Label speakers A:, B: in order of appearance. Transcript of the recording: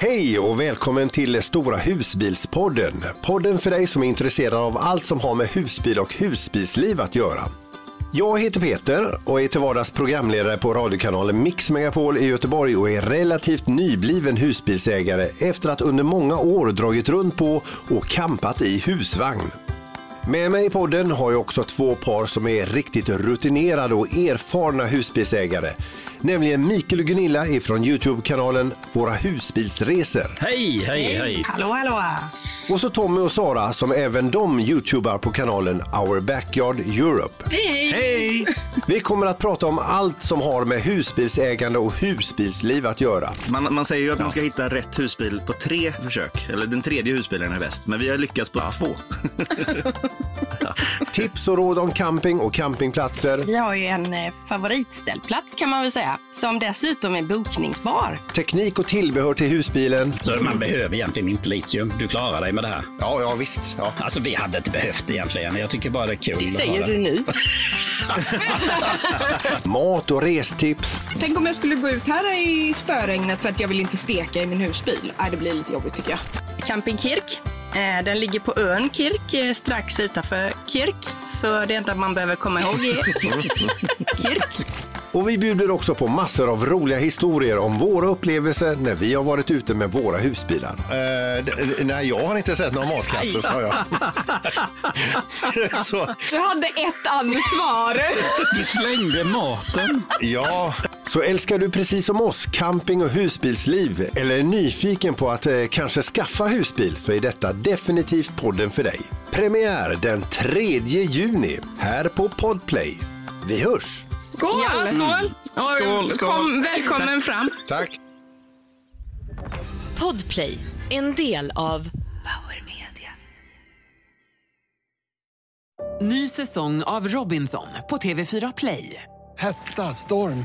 A: Hej och välkommen till Stora husbilspodden. Podden för dig som är intresserad av allt som har med husbil och husbilsliv att göra. Jag heter Peter och är till vardags programledare på radiokanalen Mix Megapol i Göteborg och är relativt nybliven husbilsägare efter att under många år dragit runt på och campat i husvagn. Med mig i podden har jag också två par som är riktigt rutinerade och erfarna husbilsägare. Nämligen Mikael och Gunilla ifrån Youtube-kanalen Våra husbilsresor.
B: Hej, hej, hej!
C: Hallå, hallå!
A: Och så Tommy och Sara som även de youtubar på kanalen Our Backyard Europe.
B: Hej!
A: Vi kommer att prata om allt som har med husbilsägande och husbilsliv att göra.
D: Man, man säger ju att man ska hitta rätt husbil på tre försök. Eller den tredje husbilen är bäst, men vi har lyckats på två.
A: Tips och råd om camping och campingplatser.
C: Vi har ju en eh, favoritställplats kan man väl säga, som dessutom är bokningsbar.
A: Teknik och tillbehör till husbilen.
B: Så man behöver egentligen inte litium. Du klarar dig med det här.
A: Ja, ja visst. Ja.
B: Alltså vi hade inte behövt egentligen. Jag tycker bara det är kul
C: Det
B: att
C: säger
B: ha
C: du
B: det.
C: nu.
A: Mat och restips.
E: Tänk om jag skulle gå ut här i spöregnet för att jag vill inte steka i min husbil. Nej, det blir lite jobbigt tycker jag.
C: Camping Kirk. Eh, Den ligger på ön Kirk, eh, strax utanför Kirk. Så det enda man behöver komma ihåg är Kirk.
A: Och vi bjuder också på massor av roliga historier om våra upplevelser när vi har varit ute med våra husbilar. Eh, nej, jag har inte sett någon matkasse, sa jag. Så,
E: Du hade ett ansvar.
B: Du slängde maten.
A: ja. Så älskar du precis som oss camping och husbilsliv eller är nyfiken på att eh, kanske skaffa husbil så är detta definitivt podden för dig. Premiär den 3 juni här på Podplay. Vi hörs!
E: Skål!
C: Ja, skål! Och
B: Skål, skål.
C: Kom, välkommen fram.
A: Tack!
F: Podplay, en del av Power Media.
G: Ny säsong av Robinson på TV4 Play.
H: Hetta, storm,